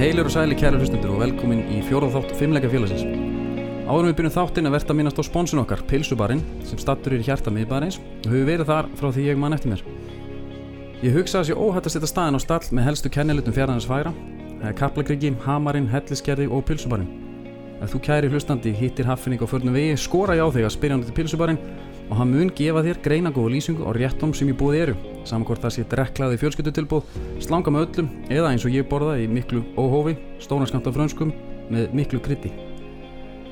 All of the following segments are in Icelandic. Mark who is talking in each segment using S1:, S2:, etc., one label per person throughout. S1: Heilir og sæli kæra hlustundur og velkomin í fjórða þátt fimmleika félagsins. Áðurum við byrjum þáttinn að verta að minnast á sponsun okkar, Pilsubarinn, sem stattur er í hjarta miðbarins og hefur verið þar frá því ég man eftir mér. Ég hugsa að sé óhætt að setja staðin á stall með helstu kennilutum fjarnarins færa, það er Kaplakryggi, Hamarinn, Helliskerði og Pilsubarinn. Ef þú kæri hlustandi hittir haffinning á förnum vegi, skora ég á þig að spyrja hann til Pilsubarinn og hann mun gefa þér greina góða lýsingu á réttum sem ég búið eru, saman hvort það sé drekklaði fjölskyldutilbúð, slanga með öllum eða eins og ég borða í miklu óhófi, stóna skamta frönskum með miklu krytti.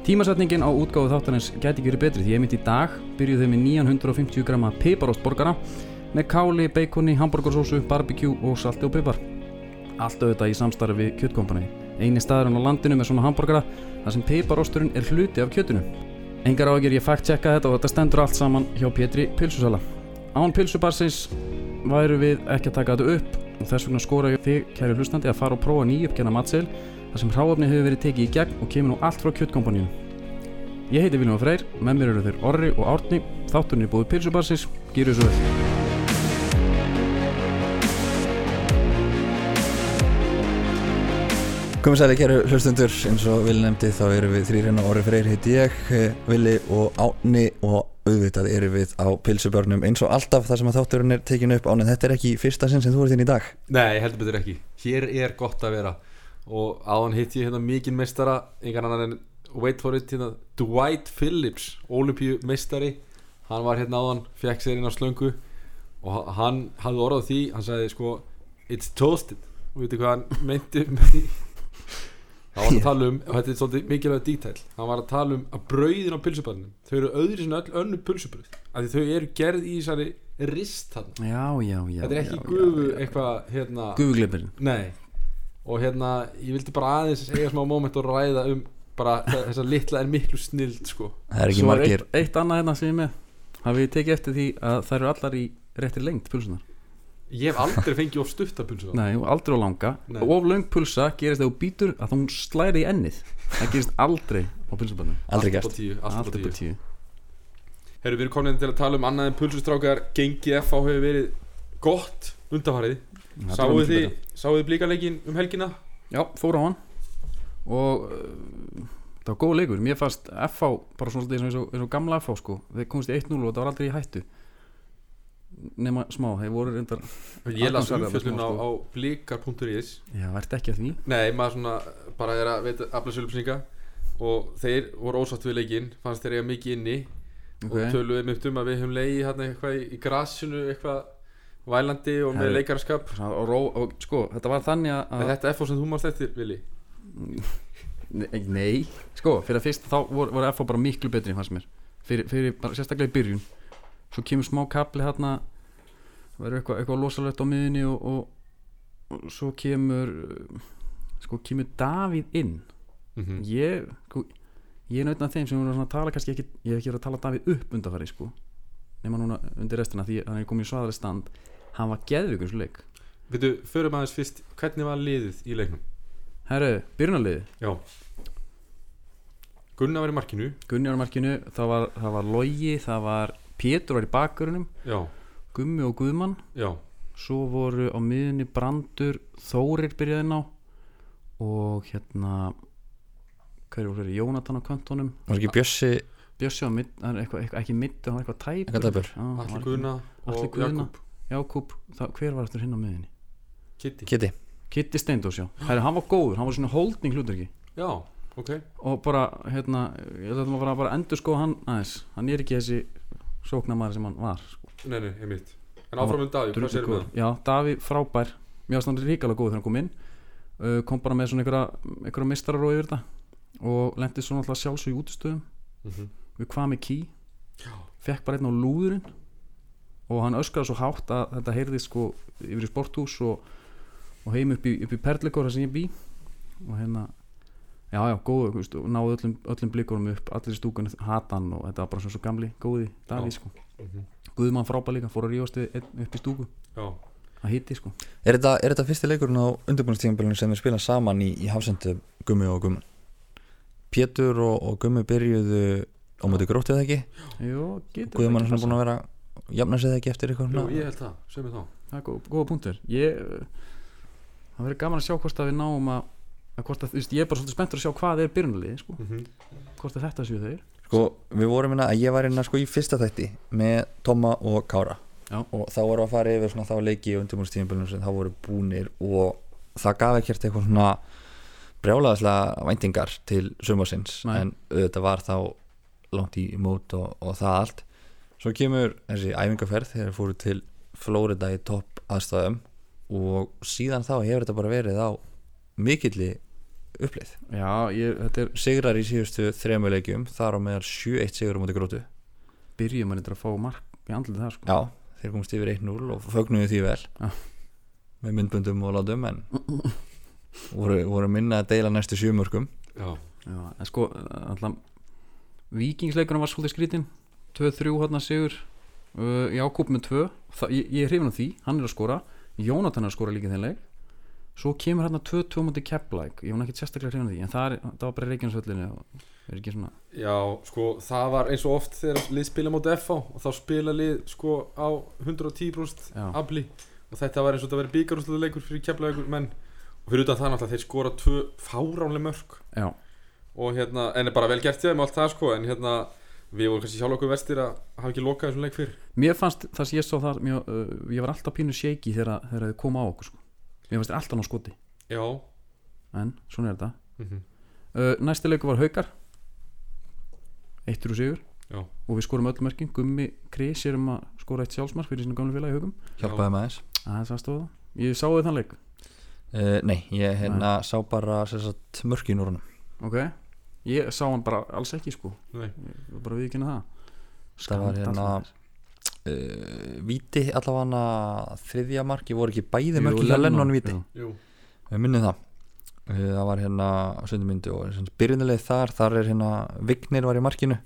S1: Tímasetningin á útgáfu þáttanins gæti ekki verið betri því ég mitt í dag byrjuð þeim með 950 gramma piparostborgara með káli, beikoni, hambúrgarsósu, barbekjú og salti og pipar. Allt auðvitað í samstarfi við kjötkompaniði. Einu staðurinn á landinu með svona hambúrgara þar sem piparosturinn er hluti af kjötinu. Engar ágjör ég fakt checka þetta og þetta stendur allt saman hjá Pétri Pilsusala. Án Pilsubarsins væru við ekki að taka þetta upp og þess vegna skora ég á þig, kæri hlustandi, að fara og prófa nýjöpkjana matseil þar sem hráöfni hefur verið tekið í gegn og kemur nú allt frá kjötkompanínu. Ég heiti Viljum Freyr, með mér eru þeir Orri og Árni, þátturinn er búið Pilsubarsins, gýrðu svo vel.
S2: Komið sæli kæru hlustundur, eins og Vili nefndi þá erum við þrýrinn og orðið freyr hitt ég, eh, Vili og Átni og auðvitað erum við á pilsubörnum eins og alltaf þar sem að þátturinn er tekin upp Ánið, þetta er ekki í fyrsta sinn sem þú ert inn í dag
S3: Nei, heldur betur ekki Hér er gott að vera Og áðan hitt ég hérna mikinn meistara Engan annan en, wait for it hérna Dwight Phillips, olimpíu meistari Hann var hérna áðan, fekk sér inn á slöngu Og ha- hann hafði orðað því Hann sagði sko It's toasted Og veitir hvað hann meinti með því Það var að tala um, og þetta er svolítið mikilvægt dítæl Hann var að tala um að brauðin á pilsubarnum Þau eru öðri sem öll önnu pilsubröð Af því þau eru gerð í þessari rist hann
S1: Já, já, já.
S3: Þetta er ekki
S1: já,
S3: gufu eitthvað hérna
S1: já. Gufuglipirinn.
S3: Nei og hérna ég vildi bara aðeins eiga smá moment og ræða um bara þe- þessa litla en miklu snild sko
S2: Það er ekki
S1: Svo er
S2: margir,
S1: eitt, eitt annað hérna sem ég er með hafið ég tekið eftir því að þær eru allar í réttri lengt pulsunar
S3: ég hef aldrei fengið of stuttapulsu
S1: nei, og aldrei á langa
S3: Nei.
S1: og of löng pulsa gerist þegar þú býtur að hún slæri í ennið það gerist aldrei á pulsubarnum
S2: aldrei gert
S3: alltaf
S1: alltaf
S3: tíu
S1: upp á tíu
S3: Herru, við erum komin hérna til að tala um annað en pulsustrákar Gengi F á hefur verið gott undanfarið
S1: Það
S3: Sáuð
S1: er miklu
S3: þið,
S1: betra.
S3: sáuð þið blíkaleikin um helgina?
S1: já, fór á hann og uh, það var góð leikur mér fannst FH bara svona svolítið eins og, eins og gamla FH sko þeir komist í 1-0 og það var aldrei í hættu nema smá, þeir voru reyndar
S3: Ég las
S1: Agnarsarðar,
S3: umfjöllun
S1: smá,
S3: á,
S1: sko.
S3: á blíkar.is
S1: já, vært ekki að því
S3: Nei, maður svona bara er að veita aflasölupsninga og þeir voru ósátt við leikinn fannst þeir eiga mikið inni
S1: Ok.
S3: og töluðum upp um að við höfum leiði hérna eitthvað í- í grasinu eitthvað vælandi og með
S1: Herru.
S3: leikarskap
S1: og, ró, og sko, þetta var þannig að
S3: Er þetta FO sem þú mást eftir, Vili?
S1: Nei, nei, sko, fyrir að fyrst þá voru, voru FH bara miklu betri fannst mér fyrir, fyrir bara sérstaklega í byrjun svo kemur smá kapli hérna það verður eitthvað eitthva losalegt á miðinni og, og, og svo kemur uh, sko, kemur Davíð inn
S3: Mm. Mhm.
S1: ég, sko, ég er nautnað þeim sem voru svona að tala kannski ekki, ég hef ekki verið að tala Davíð upp undarfæri, sko nema núna undir restina því að hann er komið í svaðaleg stand hann var geðvíkun svo leik
S3: Veitu, förum aðeins fyrst, hvernig var liðið í leiknum?
S1: herru, byrjunarliði
S3: Já Gunnar var í markinu
S1: Gunni á markinu, það var, það var Logi, það var Pétur var í bakgrunum
S3: Já,
S1: Gummi og Guðmann
S3: já
S1: svo voru á miðunni Brandur Þórir byrjaði ná og hérna hverju voru þeirri, Jónatan á kantónum
S2: var ekki Bjössi
S1: Bjössi á mitt, hann er eitthvað, eitthvað, ekki mitt hann var eitthvað tæpur
S2: Eitthvað tæpur.
S1: Já, hann var
S3: Allir
S1: eitthvað-
S3: Gunnar
S1: Atli
S3: og
S1: Guðna,
S3: Jakub
S1: Jakub það, hver var eftir hinn á miðunni?
S3: Kitty
S2: Kitty?
S1: Kitty Steindós, já, Heru, hann var góður, hann var svona holdning hlutverki
S3: Já, ok
S1: og bara, hérna, ég ætla að bara, bara endur sko hann aðeins, hann er ekki þessi sóknamaður sem hann var sko.
S3: Nei, nei, einmitt En áfram um Davíð, hvað sérum við
S1: Drullugóður.
S3: það?
S1: Já, Daví frábær Mér varst hann ríkalega góð þegar hann kom inn uh, kom bara með svona einhverja, einhverja mistarar og yfir þetta og lendi svona alltaf sjálfsög í útistöðum
S3: Mhm,
S1: við hvað með ký fekk bara einn á lúðurinn og hann öskraði svo hátt að þetta heyrði sko yfir í sporthús og, og heim upp í, upp í perlikor þar sem ég bý og hérna já já, góðu, þú veist, og náðu öllum, öllum blikurum upp allir í stúkunni hatan og þetta var bara svona svo gamli góði Davíð sko
S3: mhm.
S1: Guðmann frábær líka, fór að rífast við einn upp í stúku
S3: Já,
S1: að hitti sko
S2: Er þetta, er þetta fyrsti leikurinn á undirbúinstíðanbjörnum sem við spila saman í, í hafsendu Gummi og Gumman? Pétur og, og Gummi byrjuðu á móti gróttið ekki
S1: Jó, getur
S2: Guðmann er
S1: það ekki passað.
S2: svona búin að vera, jafna sig það ekki eftir eitthvað
S3: Jú, ég
S2: svona
S3: held það, sem er þá
S1: eh, Það er góð, góða punktur Ég Það verður gaman að sjá hvort að við náum að En hvort að, þú veist, ég er bara svolítið spenntur að sjá hvað er byrjunaliði, sko
S3: Mhm,
S1: Hvort að þetta séu þeir
S2: Sko, við vorum hérna að ég var hérna sko í fyrsta þætti með Tomma og Kára
S1: Já.
S2: og þá vorum við að fara yfir svona þá leiki og undirbúrstíðinbjörnum sem þá voru búnir og það gaf ekkert eitthvað svona brjálaðislega væntingar til sumarsins
S1: Nei.
S2: en auðvitað var þá langt í mót og, og það allt svo kemur þessi æfingarferð þegar við fóru til Flórida í topp aðstæðum og síðan þá hefur þetta bara verið á mikilli upplið
S1: Já, ég, þetta er,
S2: sigrar í síðustu þremu leikjum þar á meðal 7-1 sigur á móti grótu
S1: byrjum að reynda að fá mark í andlið það, sko
S2: já, þeir komst yfir 1-0 og fögnuðu því vel
S1: Já.
S2: með myndböndum og látum en voru, voru minna að deila næstu sjömörkum
S3: já,
S1: Já, en sko, alltaf Víkingsleikunum var svolítið skrítin 2-3 hátna sigur uh, Jákúb með 2 Þa, ég, ég er hrifin á því, hann er að skora Jónatan er að skora líka í þeim leik Svo kemur hérna hann að 2-2 múti kepplæk Ég var ekki sérstaklega hrifin á því En það, er, það var bara reikinsvöllinu Er ekki svona
S3: já, sko það var eins og oft þegar lið spila móti FH og þá spila lið sko á 110%
S1: Já.
S3: afli og þetta var eins og þetta verið bíkarúsluleikur fyrir keflaðugur menn og fyrir utan það náttúrulega þeir skora tvö fáránlega mörg
S1: Já, og
S3: og hérna, en er bara vel gert hjá þeim og allt það sko, en hérna við vorum kannski sjálf okkur verstir að hafa ekki lokað þessum leik fyrr
S1: mér fannst það sem ég sá það mjög, uh, Ég var alltaf pínu shaky þegar, þegar þið koma á okkur sko. Mér fannst þeir alltaf ná skoti
S3: já,
S1: En svona er þetta
S3: mm
S1: uh, Næsti leiku var Haukar Eittur og sigur
S3: Já.
S1: Og við skorum öll mörkin Gummi Kris er um að skora eitt sjálfsmark Fyrir sínu gamlu félagi í Haukum
S2: hjálpaði maður þess
S1: Það er það stóð Ég sáði þann leik
S2: uh, nei, ég hérna sá bara sem sagt, mörkin úr honum
S1: Ok Ég sá hann bara alls ekki sko
S3: nei,
S1: Ég var Bara við ekki það
S2: Það var
S1: Skandall,
S2: hérna-
S1: maður.
S2: uh, víti allavega þriðja marki voru ekki bæði
S1: Jú,
S2: mörkin hjá Lennon víti
S1: jú.
S3: jú,
S2: við minnum það Eh, það var hérna á söndu myndu og byrjunarleið þar, þar er hérna Vignir var í markinu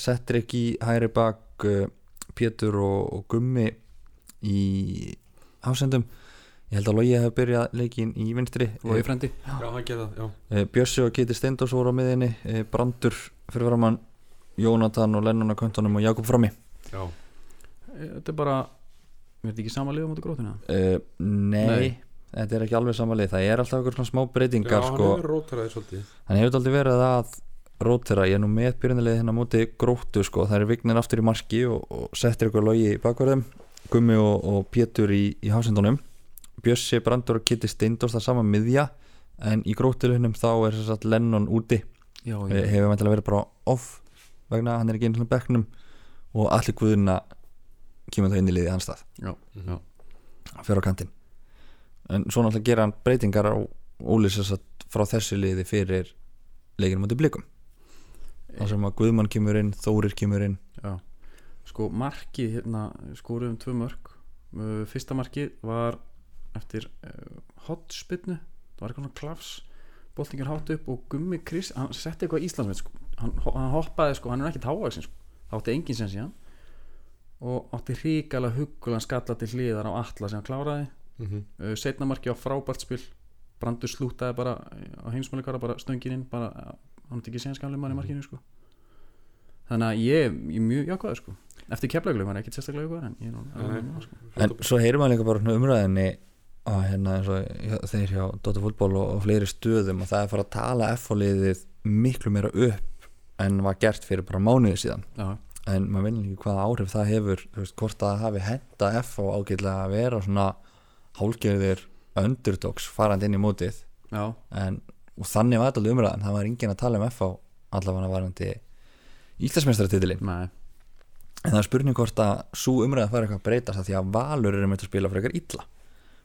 S2: settir ekki hægri bak eh, Pétur og, og Gummi í hafsendum ég held að Lógi hefði byrjað leikin í vinstri
S1: Logi frendi
S3: já, hann geta, já
S2: Eh, Bjössi og Kiti Steindós voru á miðinni eh, Brandur fyrir framann Jónatan og Lennon á köntunum og Jakob frammi
S3: já,
S1: Þetta er bara Við erum ekki sama liða mútið grótuna
S2: uh, nei,
S1: Nei.
S2: þetta er ekki alveg samanlið það er alltaf eitthvað svona smá
S3: já,
S2: breytingar
S3: hann
S2: sko.
S3: er rótaraðið svolítið
S2: Þannig hefur þetta aldrei verið að rótera, ég er nú með byrjunarlið hérna á móti gróttu sko, það er vignir aftur í marki og, og settir ykkur logi í bakverðum Gummi og, og Pétur í, í hásendunum Bjössi, Brandur og Kitty Steindors það er sama miðja en í gróttilunum þá er þess að Lennon úti
S1: Já,
S2: Eh,
S1: ég
S2: hefur mæntilega verið bara off vegna hann er ekki einu svona bekknum og allir guðuna kemur það inn í liðið hans stað
S1: Já, já.
S2: fyrir á kantinn en svo náttúrulega gera hann breytingar á ólýs þess að frá þessu liði fyrir leikinu mútið blikum þar sem að Guðmann kemur inn, Þórir kemur inn
S1: Já, sko markið hérna skoruðum tvö mörg Uh, fyrsta markið var eftir uh, hotspinnu það var eitthvað svona klafs boltingar hátt upp og Gummi Kris hann setti eitthvað Íslandsmið sko. hann, ho- hann hoppaði sko, hann er ekki távaxin sko. það átti engin sem síðan og átti hrikalega huggulan skalla til hliðar á alla sem hann kláraði
S3: mm
S1: uh, setna markið á frábært spil Brandur slútaði bara eh, á heimsmálikara bara stöngin inn bara, eh, hann átti ekki sénskamlega
S3: Mhm.
S1: mann í markinu sko. þannig að ég, ég er mjög jákvæður sko. eftir keflaugulegum var ég ekkert sérstaklega jákvæður en ég er nú alveg
S3: Nei.
S1: með það, sko.
S2: en svo heyrum maður líka bara svona umræðinni að hérna eins og hjá- þeir hjá Dóttar fútból og, og fleiri stöðum og það er að fara að tala F-liðið miklu meira upp en var gert fyrir bara mánuði síðan
S1: Já,
S2: en maður veit ekki hvaða áhrif það hefur þú veist, hvort það hafi henda F og ágætlega að vera svona hálgerðir underdogs farandi inn í mótið
S1: já,
S2: en, og þannig var þetta alveg umræðan það var enginn að tala um F á allavega varandi Íslandsmeistaratitilin
S1: nei,
S2: en það er spurning hvort að svo umræða fara eitthvað að breytast af því að Valur eru meitt að spila frekar illa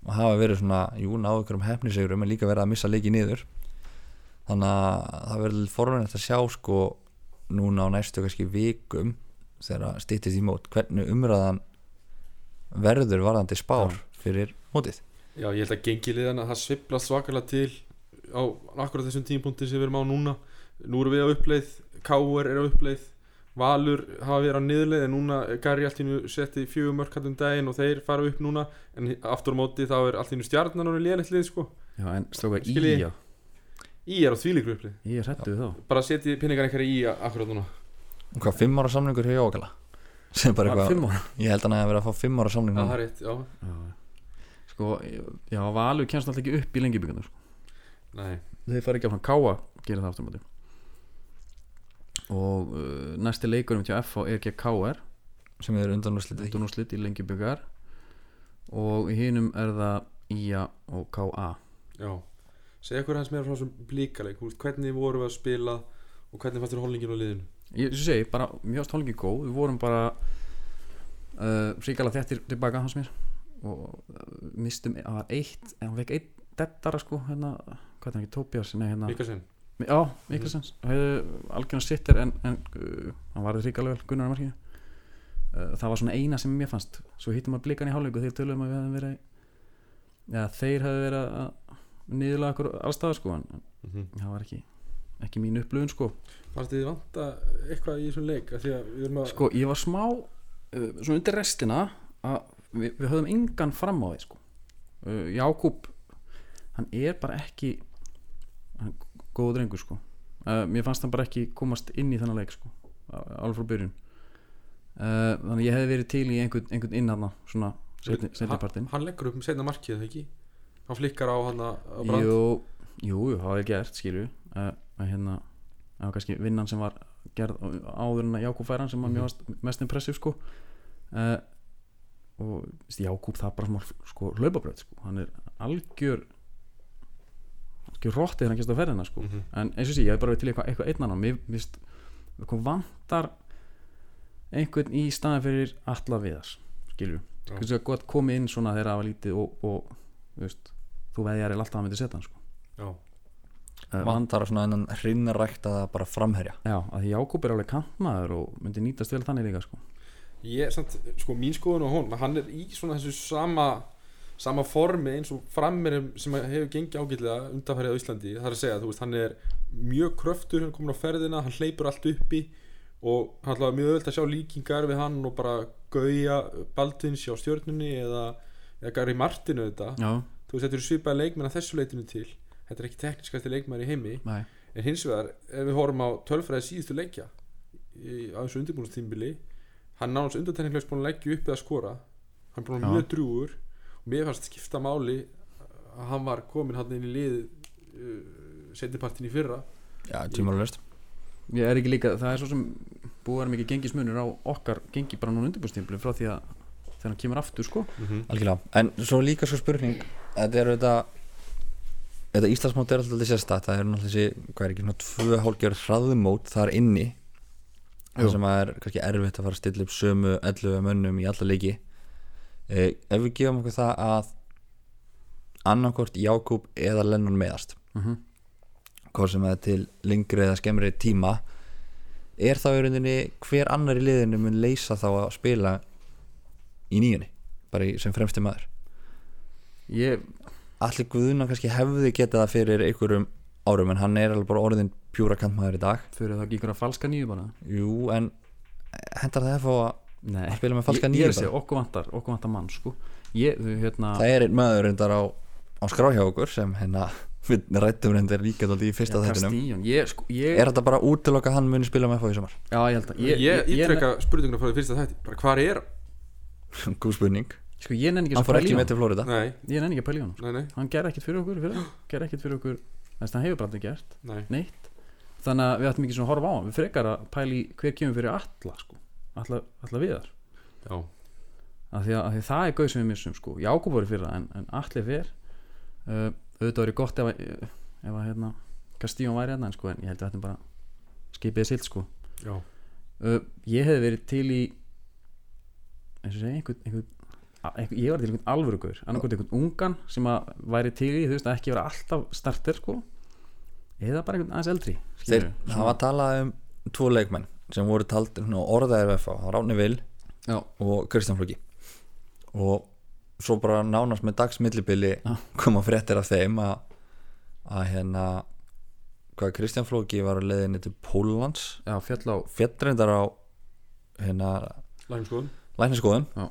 S2: og hafa verið svona, jú, náðu ykkur um hefnisegrum en líka verið að missa leiki niður þannig að það verður forunett að sjá sko núna á næstu kannski vikum þegar að stýttist í mót hvernig umræðan verður varðandi spár fyrir mótið
S3: já, ég held að gengi liðan að það svipla svakalega til á akkurat þessum tímpunkti sem við erum á núna nú erum við á uppleið, K.R. er á uppleið Valur hafa verið á niðurleið en núna er Gary allt í nú setti fjögur mörk hann um daginn og þeir fara upp núna en aftur á móti þá er allt í nú stjarnan og lélitt lið sko,
S1: já, en stróka í
S3: Skilji.
S1: já,
S3: í er á þvílíkur upplið
S1: ég er hrættu við þá
S3: bara setji pinningar einhverja í akkurat núna
S2: og hvað, fimm ára samningur hjá Jókala sem er bara
S1: Var
S2: eitthvað,
S1: fimm ára
S2: ég held hann að hafa verið að fá fimm ára samning
S3: það
S2: núna.
S3: er rétt, já
S1: Já. sko, já, Valur kemst alltaf ekki upp í lengjubíkandum sko.
S3: Nei,
S1: þeir fara ekki áfram káa gera það aftur á móti og uh, næsti leikur um til FH er gegn KR
S2: sem eru undan og slítið
S1: undan úrslit í lengi byggar og í hinum er það IA og KA
S3: já Segja okkur hans meira frá þessum blíkaleik Þú veist, Hvernig vorum við að spila og hvernig fannst þér holningin á liðinu
S1: ég sem segi, bara mjög stólki góð við vorum bara uh, ríkala þettir tilbaka hans mér og uh, mistum það var eitt, en hann fekk eitt dettara sko, hérna, hvað er hann ekki, Tobias nei, hérna,
S3: Mikkelsen
S1: já, Mikkelsens hefði algjörn sittir en, en uh, hann varði ríkala vel, Gunnar í markinu uh, það var svona eina sem mér fannst svo hittum við blikan í hálfleik og þeir tölum að við hefðum verið já, þeir hefðu verið að niðurlega okkur allstaðar sko en en
S3: mm -hmm.
S1: það var ekki ekki mín upplöfun sko
S3: Fannst þið vanta eitthvað í þessum leik Af Því að við erum að
S1: Sko, ég var smá uh, svona undir restina að við, við höfðum engan fram á því sko. uh, Jákúb hann er bara ekki hann er góð drengur sko. uh, mér fannst hann bara ekki komast inn í þennan leik sko, á- alveg frá byrjun uh, þannig að ég hefði verið til í einhvern, einhvern inn hann svona setni, setni partinn
S3: Hann leggur upp um setna markið, það ekki Hann flikkar á hann að brand
S1: Jú, jú, jú, það er gert, skilju uh, að hérna, það var kannski vinnan sem var gerð á- áður en að Jákúb færan sem var mjög varst- mest impressiv sko uh, og veist, Jákúb það er bara smá sko, hlaupabröð sko. hann er algjör algjör rotti þegar hann kemst á ferðina sko.
S3: Mhm.
S1: en eins og sé, ég hef bara verið til í eitthvað, eitthvað einn annan mér vist, eitthvað vantar einhvern í staðin fyrir alla viðars, skilju
S3: Já.
S1: hversu að gott komið inn svona þegar það var lítið og, og þú veist, þú veðjar er alltaf að hann myndi setja hann sko.
S3: Já,
S1: Eh,
S2: vantar að svona enn hrinnarækta það bara framherja
S1: Já, að því Jákúb er alveg kantmaður og myndi nýtast vel þannig líka sko.
S3: ég, samt, sko, mín skoðun og hún Hann er í svona þessu sama sama formi eins og frammerum sem hefur gengið ágætlega undanfærið á Íslandi það er að segja, þú veist, hann er mjög kröftur hann er komin á ferðina, hann hleypur allt uppi og hann ætlaði mjög öðvöld að sjá líkingar við hann og bara gauja Baldvins hjá stjörnunni eða, eða Gary Martinu þetta
S1: Já,
S3: þú veist, þetta eru svipaði leikmenn að þessu leitinu til þetta er ekki tekniskasti leikmenn í heimi
S1: nei
S3: en hins vegar, ef við horfum á tölfræði síðustu leikja í, á þessu undirbúinastímbili hann nánast undantekninglega búin að leggja upp eða skora hann er búin að vera
S1: Já.
S3: mjög drúur og mér fannst skipta máli að hann var komin hann inn í lið uh, setjapartin í fyrra
S2: já, tímalulegst
S1: Ég er ekki líka, það er svo sem búið að vera mikið gengismunur á okkar gengi bara núna undirbúrstímplu frá því að þegar hann kemur aftur sko
S2: algjörlega, en svo líka svo spurning þetta er þetta Þetta Íslandsmót er alltaf alltaf sérstætt, það er náttúrulega þessi, hvað er ekki, svona tvö hálfgjörð hraðumót þar inni
S1: Jú.
S2: Það sem að er kannski erfitt að fara að stilla upp sömu 11 mönnum í alla leiki eh, Ef við gefum okkur það að annarkort Jákúb eða Lennon meðast
S1: Mhm.
S2: Hvað sem að er til lengri eða skemmri tíma Er þá í rauninni hver annar í liðinu mun leysa þá að spila í nýjunni bara í, sem fremsti maður
S1: Ég,
S2: Allir Guðuna kannski hefði getað það fyrir einhverjum árum en hann er alveg bara orðin pjúra kantmaður í dag
S1: fyrir það ekki ykkur að falska nýju bara
S2: Jú, en hendar það að fá að
S1: Nei,
S2: Að spila með falska
S1: Ég-
S2: níu
S1: Ég er að
S2: bara.
S1: segja, okkur vantar, okkur vantar mann sko Ég, þú, hérna
S2: það er einn maður reyndar á, á skrá hjá okkur sem hérna við rættum reyndar líka dálítið í fyrsta þettinum
S1: Kastíjón, ég sko, ég
S2: er þetta bara út til okkar hann muni spila með FH í sumar
S1: Já, ég held að
S3: ég, ég ítrekka spurninguna frá því fyrsta þætti bara hvar er,
S2: góð spurning
S1: Sko, ég nenni ekki að
S2: hann fór
S1: pæla í
S2: ekki með
S1: honum.
S2: til Florida
S3: nei,
S1: Ég nenni ekki að pæla í honum sko.
S3: nei, nei,
S1: Hann gerði ekkert fyrir okkur, í fyrra, gerði ekkert fyrir okkur Þess að hann hefur bara aldrei gert
S3: nei.
S1: neitt þannig að við ættum ekki svona að horfa á hann við frekar að pæli hver kemur fyrir alla sko. alla, alla viðar
S3: Já.
S1: af því, að, af því að það er gauð sem við missum sko. Jákob voru fyrir það en, en allir fyrr uh, auðvitað verið gott ef að, ef að hérna, Kastíón væri hérna en, sko, en ég held að þetta bara skipið silt sko.
S3: Já.
S1: uh, ég hefði verið til í eins og segja einhvern, einhvern a- einhver, ég var til í einhvern alvöru gaur annarkvæmt einhvern ungan sem að væri til í þú veist að ekki vera alltaf starter sko eða bara einhvern aðeins eldri
S2: Þeir,
S1: skilurðu,
S2: það
S1: svona-
S2: var að tala um tvo leikmenn sem voru taldir svona orðaðir við FH það var Ráni Vil
S1: Já.
S2: og Kristján Flóki og svo bara nánast með dagsmillibili
S1: Já.
S2: koma fréttir af þeim að, að hérna hvað Kristján Flóki var að leiðinni til Pólans
S1: Já, fjall á
S2: fjettrindar á hérna
S3: Læknisskoðun.
S2: lækniskoðum
S1: Já.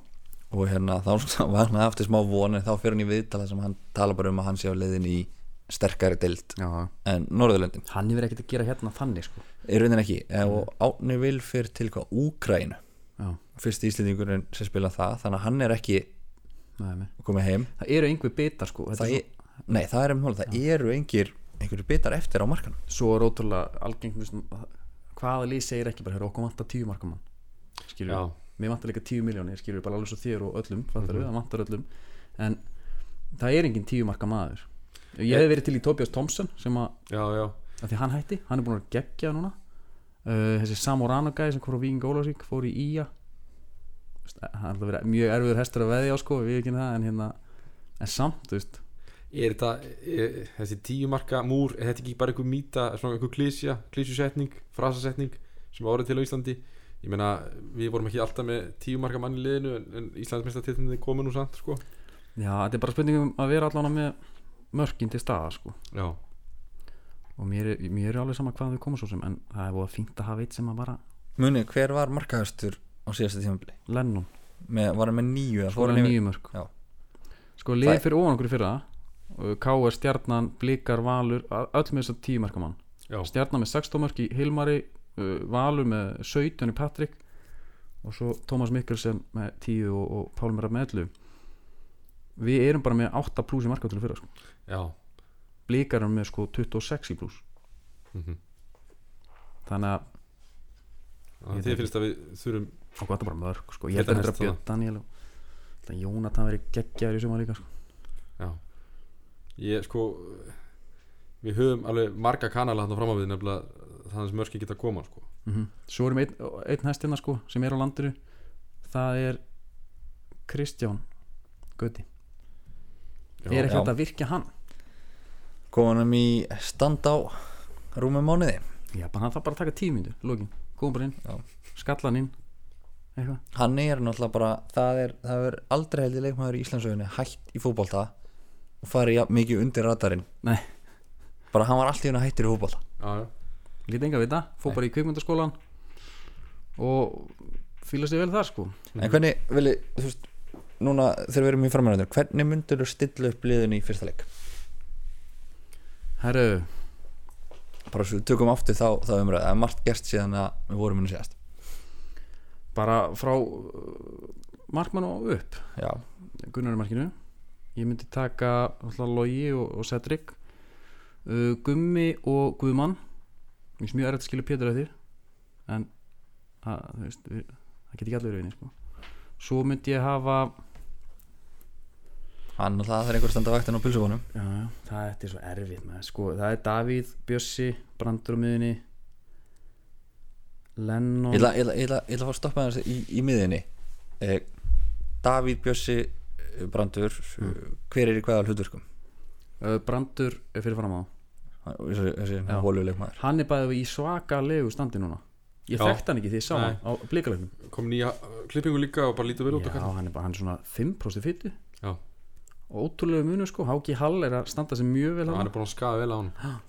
S2: og hérna þá var hann aftur smá voni þá fyrir hann í viðtala sem hann tala bara um að hann sé á leiðinni í sterkari deild
S1: Já.
S2: en Norðurlöndin
S1: Hann hefur ekkert að gera hérna þannig sko
S2: er raunin ekki Eh, og Átni vil fyrir til hvað Úkrænu
S1: Já,
S2: fyrst íslendingurinn sem spila það þannig að hann er ekki
S1: nei, nei.
S2: komið heim
S1: Það eru einhver bitar sko Þetta
S2: það
S1: er
S2: er, nei það er um hóla, það eru engir einhverju bitar eftir á markanum
S1: svo er ótrúlega algengt þú veist, hvaða lið segir ekki bara, "Heyrðu, okkur vantar tíu markamann skilur
S3: Já,
S1: mér vantar líka tíu miljónir skilur bara alveg svo þér og öllum fattar það vantar öllum en það er engin tíu marka maður ég hef verið til í Tobias Thompson sem að,
S3: já, já
S1: að því hann hætti, hann er búin að gegja núna uh, þessi Samorano gæði sem fór á Víking Ólafsvík fór í Ía hann er alltaf verið mjög erfiður hestur að veðja á sko við ekki það en hérna en samt, þú veist
S3: Er þetta, er, þessi tíu marka múr, er þetta ekki bara einhver mýta, svona einhver klísja, klísjusetning, frasasetning sem árið til á Íslandi? Ég meina, við vorum ekki alltaf með tíu marka mann í liðinu en, en Íslandsmesta titlinni komin nú samt, sko.
S1: já, þetta er bara spurningum að vera allan með mörkin til staða sko
S3: Já,
S1: og mér er, mér er alveg sama hvað þau koma svo sem en það er búið að fínt að hafa eitt sem að bara
S2: Muni, hver var markahæstur á síðasta tímabili?
S1: Lennon,
S2: Með, var hann með nýju? eða fór
S1: skoraði
S2: hann yfir-
S1: nýju mörg
S2: Já,
S1: Sko liðið
S2: Það-
S1: fyrir ofan okkur í fyrra uh, K.R. Stjarnan, Blikar, Valur a- öll með þess að tíu markamann
S3: já,
S1: Stjarnan með 16 mörk í Hilmari uh, Valur með 17 í Patrik og svo Tómas Mikkelsen með 10 og, og Pálmur með 11 Við erum bara með 8 pluss í markatölu fyrra sko.
S3: já.
S1: Blikar erum með sko 26 í pluss
S3: Mm
S1: Mhm. þannig að Ég
S3: Þið
S1: þekki.
S3: finnst að við þurfum,
S1: okkur þetta er bara mörk sko. ég held að
S3: Þetta er
S1: þetta er
S3: næsta.
S1: Björn Daniel og ég held að Jónatan verið geggjaður í sumar líka sko.
S3: já, ég, sko, við höfum alveg marga kanala hann á framávið nefnilega þannig sem mörki geta að koma, sko.
S1: mm Svo erum einn, einn hestina sko, sem er á landinu það er Kristján Gauti,
S3: Já,
S1: er ekki
S2: já.
S1: hægt að virkja hann
S2: kom hann í stand á rúmum mánuði
S1: Já, bara hann þarf bara að taka tímindu, lokin komum bara inn,
S2: Já.
S1: skallan inn eitthvað,
S2: Hann er náttúrulega bara, það er, það er aldrei heldur leikmaður í Íslandsögunni hætt í fótbolta og farið jafn mikið undir radarinn
S1: nei,
S2: bara hann var alltaf hérna hættur í fótbolta
S3: Já, já.
S1: lítið enga vita fór bara í kvikmyndaskólan og fýla sér vel þar sko
S2: En hvernig, veli, þú veist núna þegar við erum í framhæðunum, hvernig myndur þú stilla upp liðinu í fyrsta leik?
S1: Herru,
S2: Bara svo við tökum aftur þá, þá umræðu, það er margt gerst síðan að við vorum henni síðast
S1: bara frá uh, markmann og upp
S2: Já,
S1: Gunnar í markinu ég myndi taka alltaf Logi og, og Cedric uh, Gummi og Guðmann mér finnst mjög erfitt að skilja Pétur eftir en að, þú veist, við- það geti ekki allir verið vinni sko. svo myndi ég hafa
S2: hann og það er einhver standa vaktin á pilsubónum
S1: já, já, það þetta er svo erfitt maður, sko, það er Davíð, Bjössi Brandur á miðunni Lennon
S2: Ég ætla ég ætla- ég ætla- ég ætla að fá að stoppa þess í, í miðinni eh, Davíð Bjössi eh, Brandur
S1: Mhm.
S2: mm. hver er í hvaða hlutverkum?
S1: uh, Brandur er fyrir fram á
S2: Hann- Þessi, þessi
S1: Já.
S2: hóluleikmaður
S1: hann er bæðið í svakalegu standi núna ég
S3: Já.
S1: þekkt hann ekki því ég sá hann
S3: Nei.
S1: á blikalegum
S3: kom nýja uh, klippingu líka og bara lítur vel út á
S1: Já,
S3: kallin.
S1: hann er bara hann er svona 5% fyttu
S3: Já.
S1: og ótrúlega munur sko, Háki Hall er að standa sem mjög vel
S3: Hann
S1: hann
S3: er búin að skafa vel á hann.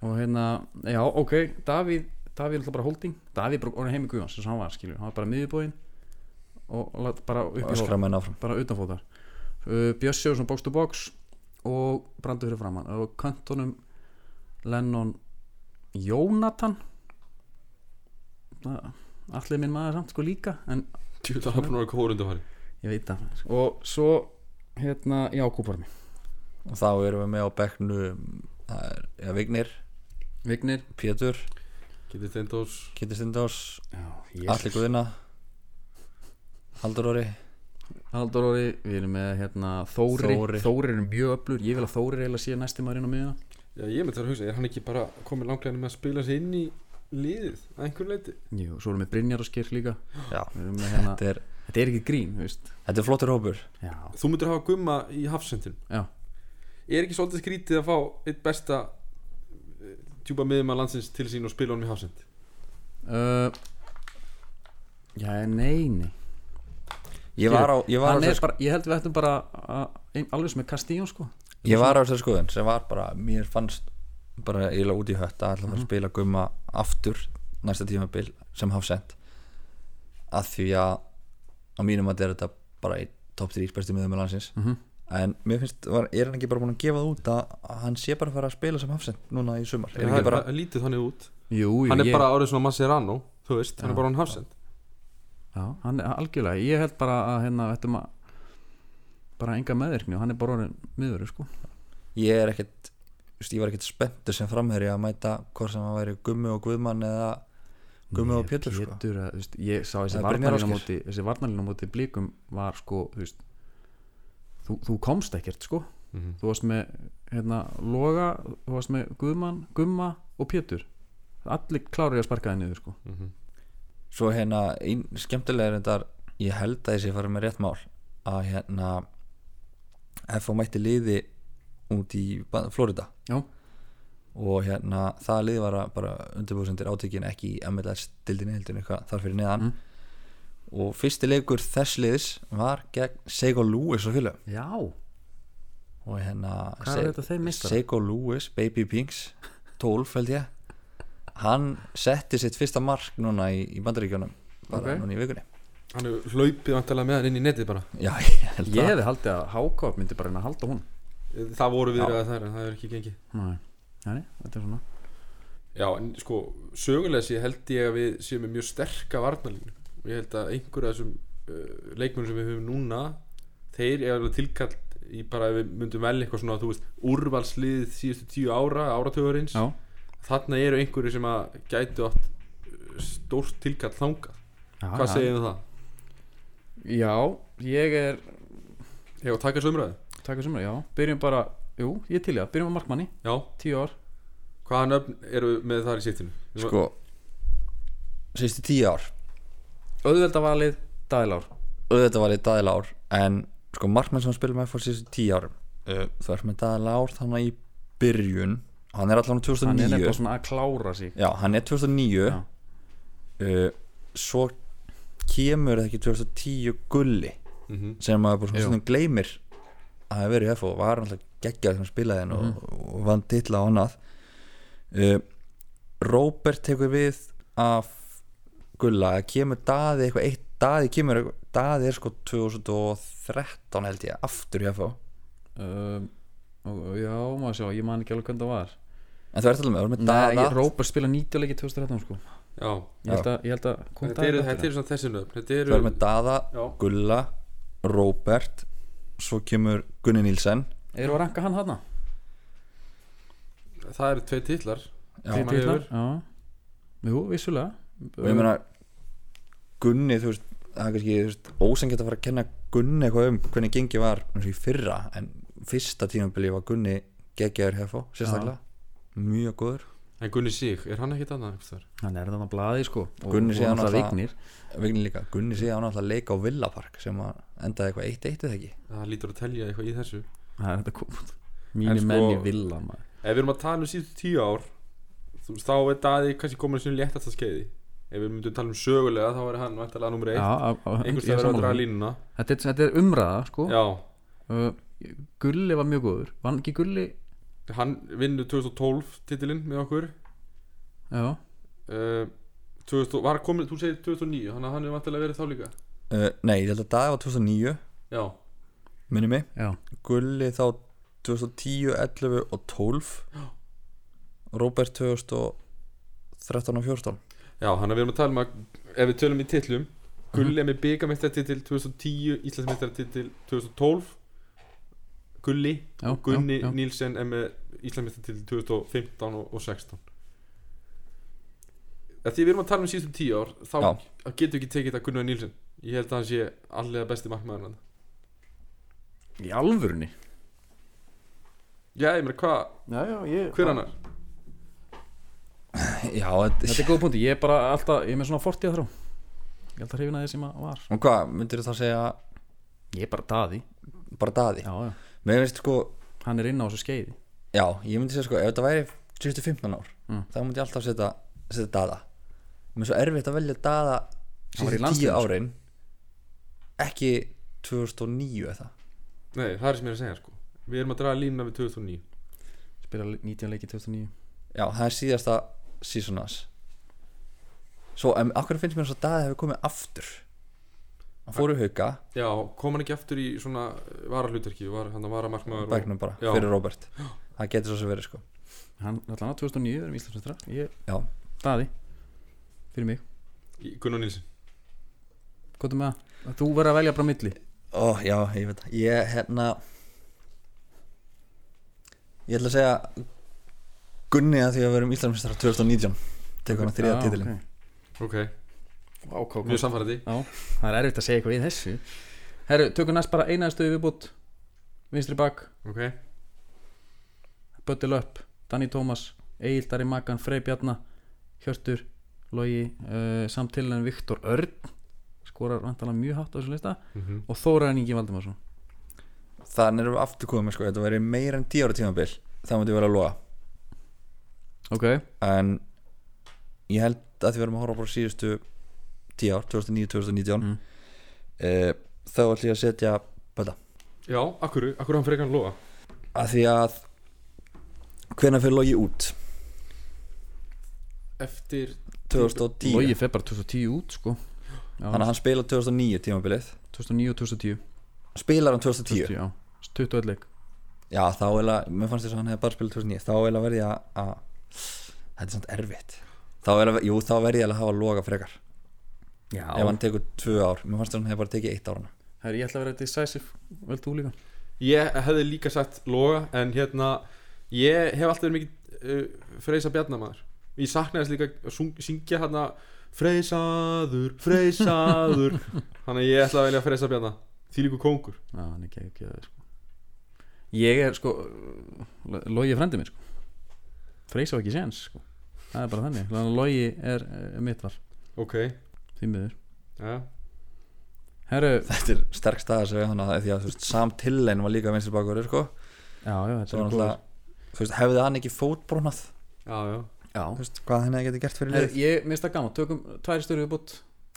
S1: og hérna, já, ok, Davíð Davíð er alltaf bara holding, Davíð er bara orðin heim í Guðans sem hann var, skilju, hann var bara miðbúinn og lát bara upp í
S2: öskra
S1: hóð
S2: menn áfram
S1: bara utanfóðar uh, Bjössi og svona box to box og brandur fyrir framann og kantonum Lennon Jónatan allir minn maður samt sko líka en
S3: Tjóta, hann er búin að vera góður undanfari.
S1: ég veit það og svo, hérna, Jákúb var mér
S2: og þá erum við með á bekknu það er ja, Vignir,
S1: Vignir
S2: Pétur,
S3: Getið Steindós,
S2: Kitty Stendós
S1: Já,
S2: Alli Guðina Haldur Orri
S1: Haldur Orri, við erum með hérna, Þóri
S2: Þóri.
S1: Þóri, er mjög öflur, ég vil að Þóri reyla síðan næsti maður inn á miðuna
S3: já ég myndi það að hugsa, er hann ekki bara komið langleginu með að spila sig inn í liðið að einhver leiti?
S1: Jú, svo erum við Brynjar og Skirk líka
S2: Já.
S1: Við erum með hérna,
S2: þetta er,
S1: Þetta er ekki grín, þú veist
S2: þetta er flottur hópur
S1: Já,
S3: Þú myndir hafa gumma í hafsendin.
S1: já,
S3: Er ekki svolítið skrítið að fá eitt besta eh, djúpa miðum að landsins til sín og spila honum í hafsend?
S1: uh, já nei, nei
S2: ég var á, ég var á
S1: Hann er
S2: þess-
S1: bara, Ég held við ættum bara að, ein, alveg sem er Kastíjón sko
S2: ég var á þessar skoðun sem var bara, mér fannst bara eiginlega út í hött að ætla að fara að spila gumma aftur næsta tímabil sem haf sent að því að á mínum að þetta bara í top 3 bestu miðum með landsins
S1: Mhm.
S2: en mér finnst, var, er hann ekki bara búin að gefa það út að að hann sé bara að fara að spila sem haf sent núna í sumar, er
S3: Það
S2: ekki
S3: er
S2: bara
S3: bara lítið þannig út.
S1: Jú, jú,
S3: Hann er
S1: ég,
S3: bara árið svona Masserano, þú veist, hann
S1: Já.
S3: er bara hann hafsend.
S1: Já, hann er algjörlega, ég held bara að hérna, við ættum að bara enga meðvirkni og hann er bara orðin miður sko
S2: ég er ekkert þú veist, ég var ekkert spenntur sem framherri að mæta hvort sem hann væri gummi og guðmann eða gummi og pjötur sko.
S1: Pétur, að, þú veist, ég sá þessi
S2: Eða Brynjar
S1: varnalína á
S2: Ásgeir.
S1: móti þessi varnalína á móti blíkum var sko þú, veist, þú, þú komst ekkert sko
S3: Mhm.
S1: þú varst með hérna, Loga, þú varst með Guðmann Gumma og Pétur allir klárið að sparka það niður sko
S2: svo hérna, ein, skemmtilega er þetta ég held að ég sé farið með rétt mál að hérna ef hún mætti liði út í Ba- Florida
S1: já,
S2: og hérna það liði var að bara undirbúðsendir átökin ekki í MLS dildinni heldin eitthvað þar fyrir neðan og fyrsti leikur þess liðis var gegn Sego Lewis og fylgum
S1: já,
S2: og hérna
S1: Hvað er þetta þeir meistarar?
S2: Seiko Lewis, Baby Pinks 12 held ég hann setti sitt fyrsta mark núna í, í bandaríkjónum bara
S1: Ok.
S2: núna í vikunni
S3: Hann hefur hlaupið vantalega með hann inn í netið bara
S2: já, ég held
S1: ég
S2: það
S1: hefði haldið að Hákop myndi bara reyna að halda hún
S3: Það voru viðræðar þær en það er ekki gengið
S1: Nei, nei, þetta er svona
S3: Já, en sko, sögulega sé held ég að við séum með mjög sterka varnalínu og ég held að einhverja þessum uh, leikmennum sem við höfum núna þeir eru alveg tilkallt í bara ef við myndum vel eitthvað svona, þú veist, úrvalslið síðustu tíu ára, áratöðurins
S1: já,
S3: þarna eru einhverju sem að gætu átt uh, stórt tilkall þangað
S1: Ah, já,
S3: Hvað
S1: já.
S3: segir um það?
S1: já, ég er
S3: Hefur að taka þessu umræðu?
S1: taka sem já, byrjum bara, jú, ég til ég að byrjum á markmanni,
S3: Já,
S1: tíu ár
S3: hvaða nöfn eru með þar í sittinu?
S2: sko síðustu tíu ár
S1: auðveldavalið, dælár
S2: auðvitað var ég Daði Lár en sko markmann sem hann spilum með fór síðustu tíu árum uh, þú ert með Daði Lár þannig í byrjun hann er
S1: hann er
S2: allan á 2009
S1: nefnilega svona að klára sig
S2: já, hann er 2009
S1: Já.
S2: uh, svo kemur það ekki 2010 gulli
S3: Mm -hmm.
S2: sem maður bara svona
S1: Mhm. Jú.
S2: stundum gleymir að hafa verið í FO var alltaf geggjað sem spilaði hann
S1: Mhm.
S2: og, og vann titla og annað uh, Robert tekur við af Gulla að kemur daði eitthvað eitt daði kemur eitthvað daði er sko 2013 held ég aftur í FO
S1: um, og, og já, maður sjá, ég man ekki alveg hvernig það var
S2: en þú ert alveg með, þú ert með
S1: Nei,
S2: daða
S1: ég- Róbert spila 90 leikið 2013 sko
S3: Já,
S1: Ég held að, ég held að kom
S3: þetta eru,
S1: daginn
S3: þetta
S1: eftir
S3: eru svona þessi nöfn Þetta
S2: þú
S3: eru,
S2: ert með daða
S3: já,
S2: Gulla Robert svo kemur Gunni Nílsen
S1: það. Eru að ranka hann hana?
S3: það eru tvei titlar
S2: Já,
S1: Þeir
S3: maður
S1: titlar?
S3: hefur.
S1: Já Jú, vissulega
S2: og ég meina Gunni, þú veist, það er kannski þú veist, ósengjætt að fara að kenna Gunni eitthvað um hvernig gengi var eins og í fyrra en fyrsta tímabili var Gunni geggjæður hefó, sérstaklega mjög góður,
S3: En Gunni Sig, er hann ekkit annað? einhvers staðar?
S1: Hann er þannig að blaði sko og-
S2: Gunni
S1: og
S2: sé hann
S1: náttúrulega
S2: alltaf-
S1: vignir
S2: veginn líka Gunni sé án alltaf að leika á Villapark sem að endaði eitthvað eitt eitt eða ekki
S3: Það lítur að telja eitthvað í þessu
S1: Það er þetta kom Mínu
S3: sko-
S1: menn í villa maður
S3: Ef við erum að tala um síðustu tíu ár þú veist, Þá er Daði kannski komin sinni léttasta skeiði Ef við myndum tala um sögulega Þá er hann vantalega nummer
S1: Já,
S3: eitt
S1: á- á- ég er
S3: Einhvers það verður að
S1: sammála
S3: draga
S1: því.
S3: línuna
S1: Þetta er- þetta er umræða sko
S3: Já,
S1: Uh, Gulli var mjög góður Var hann ekki Gulli?
S3: hann vinnur 2012 titilinn með okkur
S1: Já
S3: uh, 2000, Var komin, þú segir 2009 Þannig að hann er vantalega verið þá líka
S2: uh, Nei, ég held að daði var 2009
S3: Já,
S2: minni mig,
S1: Já
S2: Gulli þá 2010, 11 og 12 Robert 2013 og 14
S3: Já hann er við erum að tala um að Ef við tölum í titlum
S1: Mhm.
S3: Gulli er með byggamestartitil 2010 Íslandsmestartitil 2012 Gulli
S1: Já,
S3: og Gunni
S1: já, já.
S3: Nílsen er með Íslandsmestar til 2015 og, og 16 Ef því við erum að tala um síðustum tíu ár þá
S2: Já.
S3: getur við ekki tekið þetta Gunni Nílsen ég held að hann sé allega besti markmaður hann
S1: Í alvörunni
S3: Já, ég meina hvað,
S1: Já, já, ég
S3: hver annar?
S2: Já,
S1: Þetta er góð punkti, ég er bara alltaf, ég er með svona fortíða þrá Ég er alltaf hrifin að því sem að var
S2: og hvað, myndir þú þá segja
S1: Ég er bara daði
S2: bara daði?
S1: Já, já,
S2: Mér finnst sko,
S1: hann er inn á þessu skeiði
S2: já, ég myndi segja sko ef þetta væri 2015 ár
S1: Mm.
S2: þá myndi ég alltaf setja, setja daða mér er svo erfitt að velja daða
S1: Hann var í
S2: síðan 10
S1: landsliðinu, sko.
S2: árin ekki 2009 eða
S3: Nei, það er sem ég er að segja sko Við erum að draga línuna við 2009
S1: Spila le- 19 leiki 2009
S2: já, það er síðasta season hans svo, em, akkur finnst mér svo að daði hefur komið aftur hann fór í hauka
S3: Já, kom hann ekki aftur í svona varalutverki var, hann var að markmaður
S2: bæknum bara,
S3: Já.
S2: fyrir Robert það getur svo sem verið sko
S1: Hann, allan á 2009 erum Íslandsmestra Ég,
S2: já,
S1: daði Fyrir mig,
S3: og Gunni Nílsen
S1: gotum með það Að Þú verður að velja bara á milli
S2: Ó, já, ég veit það Ég, hérna Ég ætla að segja Gunni að því að verum Íslandsmestara 2019 tekur hann að þriða
S1: Já,
S2: titilin
S1: ok.
S3: ok,
S1: Vá, hvað- hvað-
S3: mjög samfærandi
S1: Já, það er erfitt að segja eitthvað við þessu Herru, tökum næst bara eina stöðu viðbútt Vinstri bak,
S3: ok,
S1: Böttil upp Danny Thomas, Egil Dari Magan Frey Bjarna, Hjörtur Logi, uh, samtilegin Viktor Örn skorar vantanlega mjög hátt á þessu lista
S3: Mhm.
S1: og Þóraðan Ingi Valdimarsson
S2: þannig erum við aftur komið sko, þetta væri meira en 10 ára tímabil þá myndi ég vera að loga
S1: Ok,
S2: en ég held að því verðum að horfa bara á síðustu 10 ár, 2009-2019
S1: Mm.
S2: eh, þá ætlum ég að setja bæta,
S3: já, akkur, akkur hann frekar loga
S2: að því að hvenær fyrir logi út
S3: eftir
S2: 2010,
S1: Logi fer bara 2010 út sko Já,
S2: þannig að hann spila 2009 tímabilið
S1: 2009 og 2010
S2: spilar hann 2010,
S1: já, 21 leik
S2: já þá eða mér fannst þess að hann hefði bara spilað 2009 þá eða verði ég að- að þetta er samt erfitt þá eða, jú þá verði ég eiginlega að hafa loga frekar
S1: Já,
S2: ef hann tekur 2 ár, mér fannst þess að hann hefði bara tekið 1 árna
S1: Herru, ég ætla að vera decisive, vel þú líka
S3: Ég hefði líka sagt Loga en hérna ég hef alltaf verið mikið uh, freysa bjarnamaður ég saknaðist líka að sung- syngja hérna freysaður, freysaður þannig að ég ætla að velja freysa bjarna því líku kóngur
S1: Já, hann er ekki ekki það sko. Ég er sko Lo- Logi er frendi minn sko. Freys á ekki séns sko. Það er bara þannig Þannig að Logi er, er eh, mitt var
S3: ok,
S1: Því miður
S3: ja.
S1: Herru
S2: þetta er sterk stað að segja hann að því að þú veist, Sam Tillen var líka vinstri bakur sko.
S1: Já, já, þetta
S2: Svo var
S1: er góð
S2: náttúrulega, þú veist, hefði hann ekki fótbrúnað
S3: já, já,
S2: Þú
S1: Já
S2: veist, hvað henni geti gert fyrir
S1: Herru,
S2: lið
S1: ég minnst það gaman Tökum tvær störu viðbútt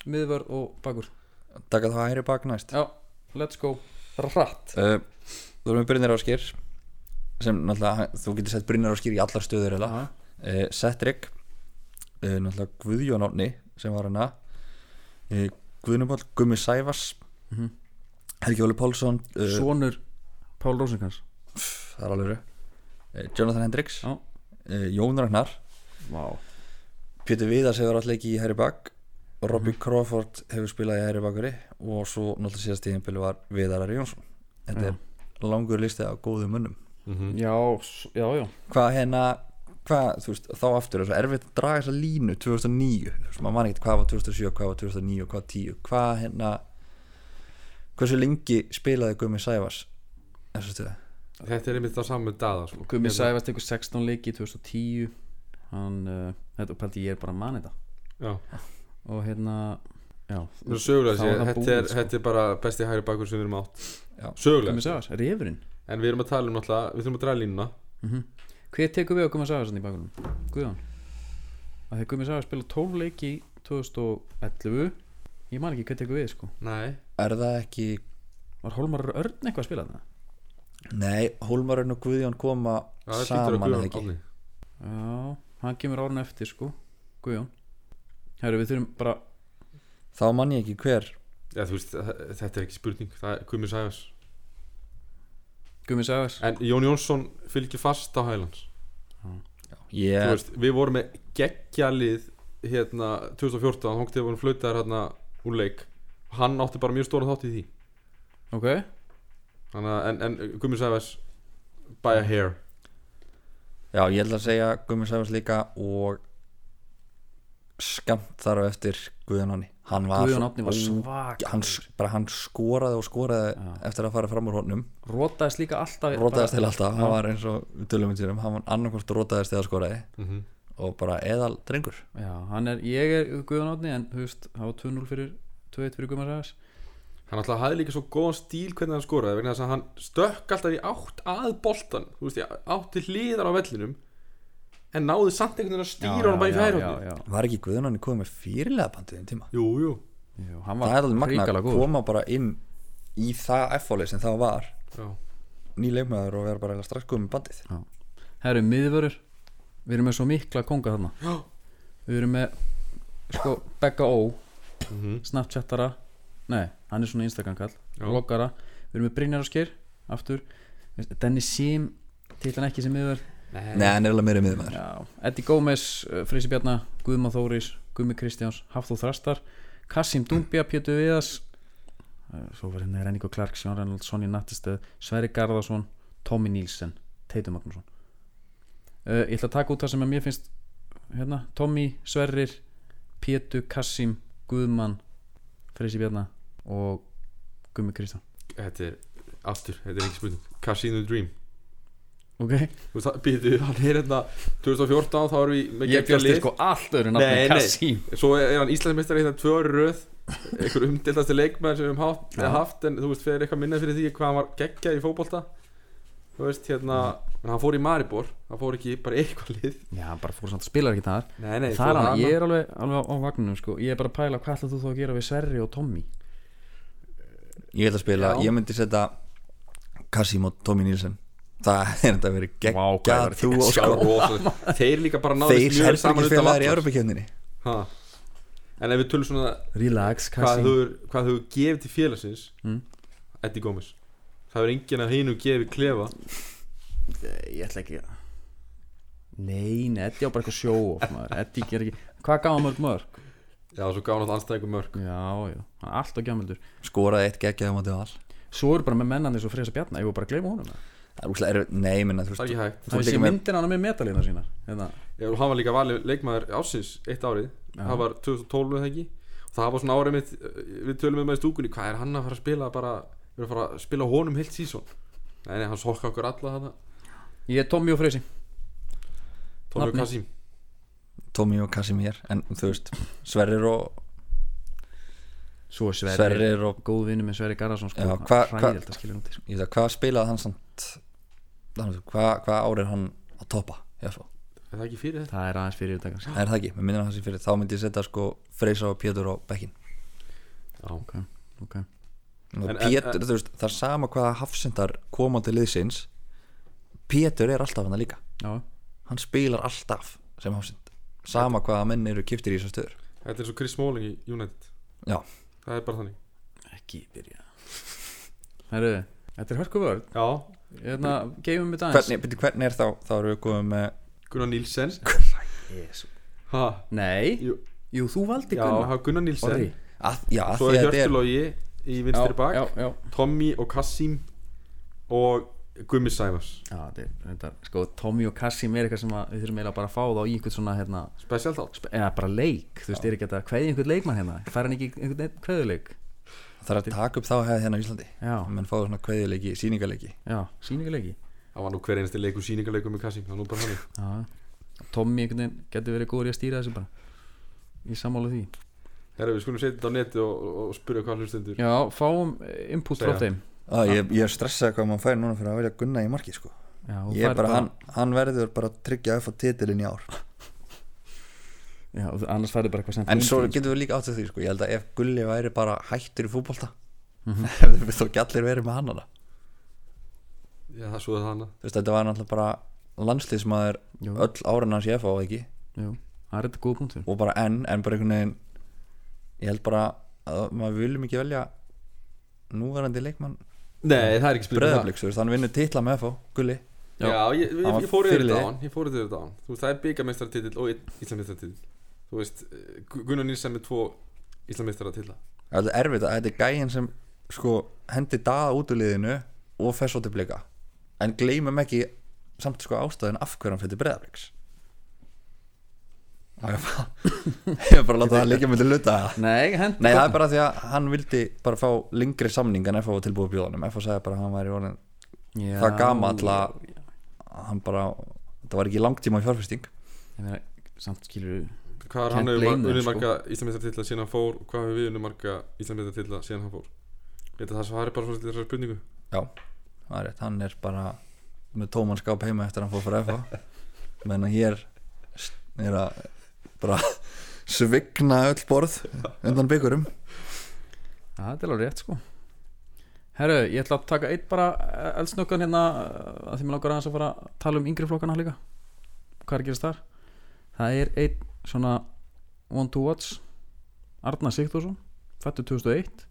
S1: Miðvörð og bakur
S2: Takka þá hægri bak næst
S1: Já, let's go Ratt
S2: uh, Þú erum við Brynjar Áskir sem náttúrulega, þú getur sett Brynjar Áskir í allar stöður uh,
S1: Já,
S2: Setrik uh, náttúrulega Guðjón Árni sem var hérna. hana uh, Guðnumál, Gummi Sævars
S1: Mhm.
S2: Helgi Óli Pálsson uh,
S1: Svonur Pál Rósinkans
S2: það er alveg uh, Jonathan Hendricks
S1: Já.
S2: uh, Jón Ragnar
S1: Vá
S2: Pétur Viðars hefur alltaf ekki í Harry Back
S3: Mhm.
S2: Robbie Crawford hefur spilað í Harry Backari og svo náttúrulega síðast tíðinbili var Viðar Ari Jónsson Þetta
S1: Já.
S3: Mhm.
S2: er langur listi af góðum munnum
S1: Já, s- já, já
S2: Hvað hérna, hvað, þú veist, þá aftur er svo erfitt að draga þessa línu 2009 þú veist, maður man ekkert hvað var 2007, hvað var 2009 hvað 10, hvað hérna hversu lengi spilaði Gumi Sævars þessu stöðu
S3: þetta er einmitt það saman með daða sko.
S1: Gumi
S3: Hérna,
S1: Sæfast tekur 16 leiki í 2010 Hann, uh, þetta pældi ég er bara að manna þetta
S3: já.
S1: og hérna já,
S3: Nú sögulega
S1: Þá
S3: sé,
S1: er það
S3: þetta,
S1: búið,
S3: er,
S1: sko.
S3: þetta er bara besti hægri bakur sem við erum átt
S2: Já.
S1: Gumi
S3: sögulega,
S1: Sæfars, refurinn
S3: en við erum að tala um alltaf, við þurfum að draga línuna
S1: hver tekur við á Gumi Sæfars í bakunum? Guðan að þegar Gumi Sæfars spila 12 leiki í 2011 ég man ekki hver tekur við sko
S3: nei,
S2: Er það ekki,
S1: var Holmar Örn eitthvað að spila þarna?
S2: nei, Hólmarun og Guðjón koma
S3: Já, það hlýtur að
S2: saman eða
S3: Guðjón
S2: ekki
S3: Árni.
S1: já, hann kemur árun eftir sko Guðan herru við þurfum bara
S2: þá man ég ekki hver
S3: Já, þú veist, þa- þetta er ekki spurning það er Guðmur Sæfars
S1: Gumi Sæfars
S3: En Jón Jónsson fylgir fast á Highlands
S2: ég,
S3: Þú veist, við vorum með geggjalið hérna 2014, þá hóngtið vorum flautaðar hérna úr leik Hann átti bara mjög stóra þátt í því
S1: ok,
S3: Þannig, að- En, en Guðmur Sæfars by a hair
S2: Já, ég ætla að segja Guðmund Sæfars líka og skamt þar á eftir Guðjón Ánni hann var,
S1: Guðan Átni var
S2: svo-
S1: svag
S2: hann, s- bara hann skoraði og skoraði
S1: Já.
S2: eftir að fara fram úr honum
S1: rótaðist líka alltaf
S2: rótaðist til
S1: bara-
S2: alltaf, hann var eins og við tölum við sérum, hann var annarkvort rótaðist eða skoraði
S3: Mhm.
S2: og bara eðal drengur
S1: já, hann er, ég er Guðan Átni en þú veist, það var 2-0 fyrir 2-1 fyrir Gumi Sæfars
S3: Hann alltaf hafði líka svo góðan stíl hvernig hann skoraði vegna þess að hann stökk alltaf í átt að boltan Þú veist, í átt til hliðar á vellinum En náði samt einhvern veginn að stýra hann bara í færhóttið
S1: já, já.
S2: var ekki Guðjón Ánni komið með fyrirlega bandið um tíma
S3: Jú, jú
S1: Jú, hann
S2: það er
S1: var
S2: alveg magna
S1: ríkala
S2: að
S1: góð
S2: koma bara inn í það F-fólið sem það var
S3: Já.
S2: ný leikmaður og vera bara eiginlega strax komið með bandið
S1: Herru, um miðvörur Við erum með svo mikla konga þarna
S3: Já.
S1: Við erum með sko, Begga Ó,
S3: Mhm.
S1: Snapchattara Nei, hann er svona Instagram kall
S3: Já.
S1: Loggara, við erum með Brynjar og Sker Aftur, Dennis Sim Titlan ekki sem miðvör
S2: Nei, hann er alveg meiri miðmaður
S1: Já. Eddie Gómez, uh, Freysi Bjarna Guðma Þóris, Guðmi Kristjáns Hafþór Þrastar, Kassim Dumbia Pétur Viðas uh, Svo var hérna Renningo Clark, Sjón Reynolds, Sonja Nattistöð Sverri Garðarsson, Tommy Nílsen Teitur Magnússon uh, ég ætla að taka út það sem að mér finnst hérna, Tommy, Sverrir Pétur, Kassim, Guðmann Freysi Bjarnar og Gummi Kristján
S3: Þetta er, aftur, þetta er ekki spurning Casino Dream
S1: ok,
S3: Þú veist, býtu, hann er hérna 2014, þá erum við með
S1: ég
S3: geggjað
S1: bjóst
S3: lið.
S1: sko allt öðru
S3: Nei,
S1: nafni
S3: nei.
S1: Kassim
S3: Svo er hann Íslandsmeistari hérna tvö ári í röð einhver umdildasti leikmenn sem við höfum haft,
S1: Já.
S3: haft en þú veist, fyrir eitthvað minna fyrir því hvað hann var geggjað í fótbolta þú veist, hérna en hann fór í Maribor, hann fór ekki í bara eitthvað lið
S1: já, hann bara fór samt að spila ekki þar
S3: Nei,
S1: það
S3: nei,
S1: er
S3: fór
S1: hann,
S3: hana.
S1: ég er alveg, alveg á vagnunum sko. ég er bara að pæla hvað ætlaðu þú þá að gera við Sverri og Tommy
S2: Ég ætla að spila,
S3: Já.
S2: ég myndi setja Kassim og Tommy Nilsen Það er þetta verið
S1: Vá, hvað
S2: geggjað
S1: það
S2: þú og
S3: Já,
S2: sko
S3: rosalega. þeir líka bara náðist
S2: Þeir herbyggifélagar í Europakefninni
S3: Európa en ef við tölum svona
S1: relax,
S3: hvað
S1: Kassim
S3: þú, hvað þú gefið til félagsins
S1: Mm.
S3: Eddie Gómez það er enginn af hinu gefið klefa
S1: Eh, ég ætla ekki að nei, nei, Eddi á bara eitthvað sjó of, maður. Eddi ger ekki, hvað gaf hann mörg mörg
S3: já, svo gaf hann alltaf anstæðingum mörg
S1: já, já, hann er alltaf gjamildur
S2: Skoraði eitt geggjað á móti val
S1: svo eru bara með mennandi svo Freysa Bjarnar, ég voru bara að gleyma honum það
S2: Það er úrslega erfið, nei, minna þú
S3: það er
S2: veist
S3: ekki hægt
S2: Þú ert
S1: sé
S2: líka með-
S1: myndin á hann með metalina sína hérna.
S3: Já, og hann var líka valið leikmaður ásins eitt árið,
S1: Já.
S3: það var 2012 eða ekki og það var svona árið mitt eh, við tölum um það í stúkunni, hvað er hann að fara að spila bara, við erum að fara að spila honum heilt sísón nei, nei, hann sokka okkur alla þarna
S1: ég er Tommy og Freysi
S3: Tónur
S1: Nafni.
S3: Kassim,
S2: Tommy og Kassim hér En þú veist, Sverrir og
S1: svo er Sverri,
S2: Sverrir og
S1: góð vinnu með Sverri Garðarsson sko,
S2: Já,
S1: hann
S2: hva- hva-
S1: hræðilegt að skilja hann úti, sko.
S2: Ég veit að hvað spilaði hann samt Þannig, hvað, hvað ár er hann að toppa Já, svo,
S3: er það ekki fyrir þetta?
S1: það er aðeins fyrir þetta
S2: það er það ekki, með minnum hans í fyrir Þá myndi ég setja sko Freysa og Pétur og Bekkin
S3: Já,
S1: okay, okay.
S3: En- en-
S2: Pétur, þú veist, það er sama hvaða hafsendar koma til liðsins Pétur er alltaf hann líka
S1: Já,
S2: Hann spilar alltaf sem hafsend Sama hvaða menn eru kiptir í þessar stöður
S3: þetta er eins og Chris Smalling í United
S2: Já,
S3: það er bara þannig
S1: ekki byrja Herru, þetta er hörku vörð
S3: Já,
S1: Hérna, geymum við dagins
S2: hvernig, byrju, hvernig er þá, þá erum við komið með
S3: Gunnar Nílsen
S1: Jesú.
S3: ha,
S1: Nei,
S3: jú,
S1: jú, þú valdi
S3: Já,
S1: Gunnar
S3: ha, Gunnar Nílsen
S1: Orri.
S2: að, Já, að
S3: Svo
S2: því að þetta
S3: er
S2: er
S3: Hjörtulogi í vinstri bak
S1: Já, já,
S3: Tommy og Kassim og Gummi Sæmars
S1: já þetta er, þetta, Sko, Tommy og Kassim er eitthvað sem að, við þurfum eiginlega bara að fá þá í einhvern svona hérna,
S3: Special þátt
S1: sp- eða bara leik, þú veist, er ekki hægt að kveðja einhvern leikmann hérna, fær hann ekki í einhvern einn kveðuleik
S2: Það er að taka upp þá hefði hérna á Íslandi
S1: Já,
S2: Menn fáðu svona kveðileiki, sýningarleiki
S1: já, sýninguleiki
S3: Það var nú hver einasti leikur síningarleikur með Kassim Það er nú bara hannig
S1: Já, Tommy einhvern veginn getur verið góður í að stýra þessu bara Ég sammála því
S3: Herra við skulum setja þetta á neti og, og, og spyrja hvað hlustendur
S1: Já, fáum eh, input frá
S3: Segja.
S1: þeim
S2: ah, ég, ég er stressað hvað maður fær núna fyrir að velja Gunna í marki sko.
S1: Já, þú
S2: Ég er
S1: færð
S2: bara, hann, hann verður bara að tryggja upp á titilin í ár
S1: Já, þú- annars færðu bara eitthvað sem
S2: En svo getum við líka átt að því sko. Ég held að ef Gulli væri bara hættur í fútbolta Hefðu við þó ekki allir verið með hann hana
S3: Já það svo er það hana
S2: Þú veist, Þetta var náttúrulega bara landslið sem að er
S1: Jú.
S2: öll áran hans ég fá ekki
S1: Jú, það er þetta góð punktur
S2: Og bara enn, en bara einhvern veginn Ég held bara að maður viljum ekki velja núverandi leikmann
S3: Nei það er ekki
S2: Breiðabliks, þú veist, hann vinnur titla með FH, Gulli
S3: Já, ég, ég,
S2: Hann var
S3: ég fór yfir þetta
S2: fyrirliði.
S3: á hann Ég fór yfir þetta á hann Þú veist það er byggamestartitill og íslamistartitill Þú veist eh, Gu- Gunnar Nilsen með tvo íslamistaratilla
S2: Það er erfitt að þetta er gæinn sem sko, hendi daða út úr liðinu og fer svo til blika en gleymum ekki samt sko ástæðin af hverju hann fyrir Breiðabliks Það er bara Ég er bara að láta það líka myndi luta það
S1: Nei, hent
S2: Nei, það er bara því að hann vildi bara fá lengri samning en FH var tilbúið bjóðanum FH sagði bara að hann væri orðin
S1: Já,
S2: það gamall að- hann bara, það var ekki langtíma í fjárfesting
S1: Ég meina, samt skilur
S3: Hvað er
S1: Can't
S3: hann hefur
S1: blame
S3: mar-
S1: them,
S3: unnið
S1: sko.
S3: marga íslamistartilla síðan hann fór og Hvað hefur við unnið marga íslamistartilla síðan hann fór Ég held að það svari bara svona þessari spurningu
S2: Já, það er rétt, hann er bara með tóman skáp heima eftir að hann fór fyrir FH menn að hér er að bara svigna öll borð undan byggurum
S1: Já, þetta er alveg rétt sko Herru, ég ætla að taka eitt bara eh, eldsnöggan hérna eh, að því mér langar aðeins að fara að tala um yngri flokkana líka Hvað er að gerast þar? Það er einn svona one to watch Arna Sigtúrsson, fættu 2001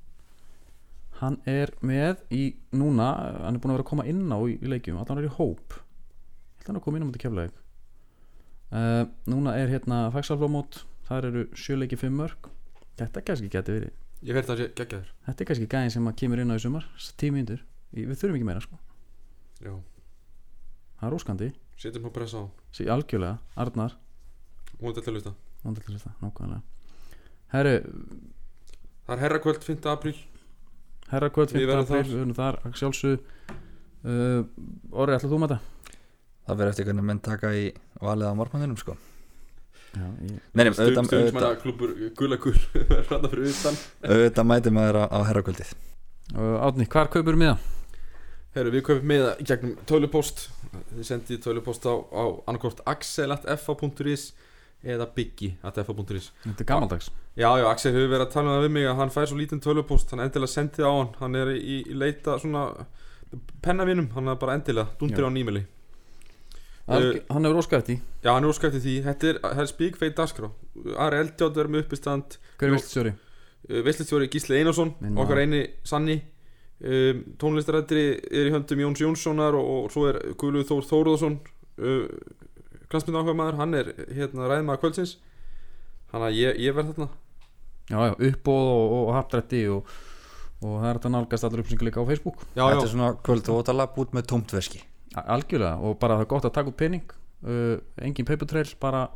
S1: Hann er með í núna, eh, hann er búin að vera að koma inn á í, í leikjum, allan er í hóp Ég ætla hann að koma inn á múti keflaðið uh, Núna er hérna Faxalflómót, þar eru sjöleiki fimm mörg Þetta kannski geti verið
S3: Ég verði það að gegja þér
S1: Þetta er kannski gæðin sem að kemur inn á í sumar Tíu mínútur, Í- við þurfum ekki meira sko
S3: Já
S1: Það er óskandi
S3: setjum að pressa á hann.
S1: Sér algjörlega, Arnar
S3: hún er til að hlusta
S1: Vandalur þetta, nákvæmlega Herru,
S3: það er herrakvöld 5. apríl
S1: herrakvöld
S3: Við
S1: 5. apríl
S3: verðum þar.
S1: Við verðum þar, að sjálfsög uh, Orri, ætlaðu þú með þetta?
S2: Það verður eftir hvernig menn taka í valið á morgmanninum sko
S1: Já, ég,
S2: Nei, nei, auðvitað, auðvitað,
S3: stuðnismannaklúbbur gula gul rannar fyrir utan
S2: auðvitað mæti maður á, á herrakvöldið
S1: uh, Átni, hvar kaupur miða?
S3: Herru, við kaupum með það í gegnum tölupost Þið sendið tölupost á, á annarkort axel.fa.is eða biggi.fa.is
S1: Þetta er gamaldags
S3: Já, já, Axel hefur verið að tala um það við mig að hann fær svo lítinn tölupost hann endilega sendið á hann hann er í, í leita svona pennavinum, hann er bara endilega, dundir
S1: Já.
S3: á nýmili
S1: Alg,
S3: Uh,
S1: Hann hefur óskað eftir því.
S3: Já, hann er óskæftið því, þetta er, þetta er spíkfeit dagskrá Ari Eldjátt er með uppistand
S1: Hver
S3: Jú.
S1: er viststjóri?
S3: Veslistjóri Eh, Gísli Einarsson,
S1: Minn maður.
S3: okkar eini sanni um, tónlistarættri er í höndum Jóns Jónssonar og, og svo er Guðlu Þór Þóruðarsson uh, glansmynda okkar maður, hann er hérna ræðmaður kvöldsins hann að ég, ég verð þarna
S1: Já, já, uppbóð og, og, og hapdrætti og, og það er þetta nálgast allir uppsengur líka á Facebook
S2: Þetta er svona kvöld og ótala búið með tómt verski
S1: A- Algjörlega, og bara það er gott að taka út pening uh, Engin paper trail, bara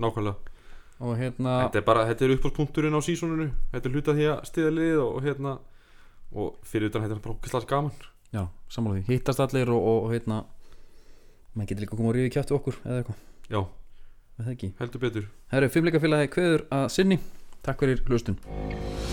S3: nákvæmlega
S1: og hérna
S3: þetta er bara, þetta er uppáspunkturinn á sísoninu þetta er hluta því að stiða liðið og, og hérna og fyrir utan þetta er bara okkar slags gaman
S1: Já, sammála því, hittast allir og, og, og hérna maður getur líka að koma og ríði kjáttu okkur eða eitthvað,
S3: já,
S1: er það ekki
S3: heldur betur
S1: Herru, fimmleikafélagi kveður að sinni Takk fyrir hlustun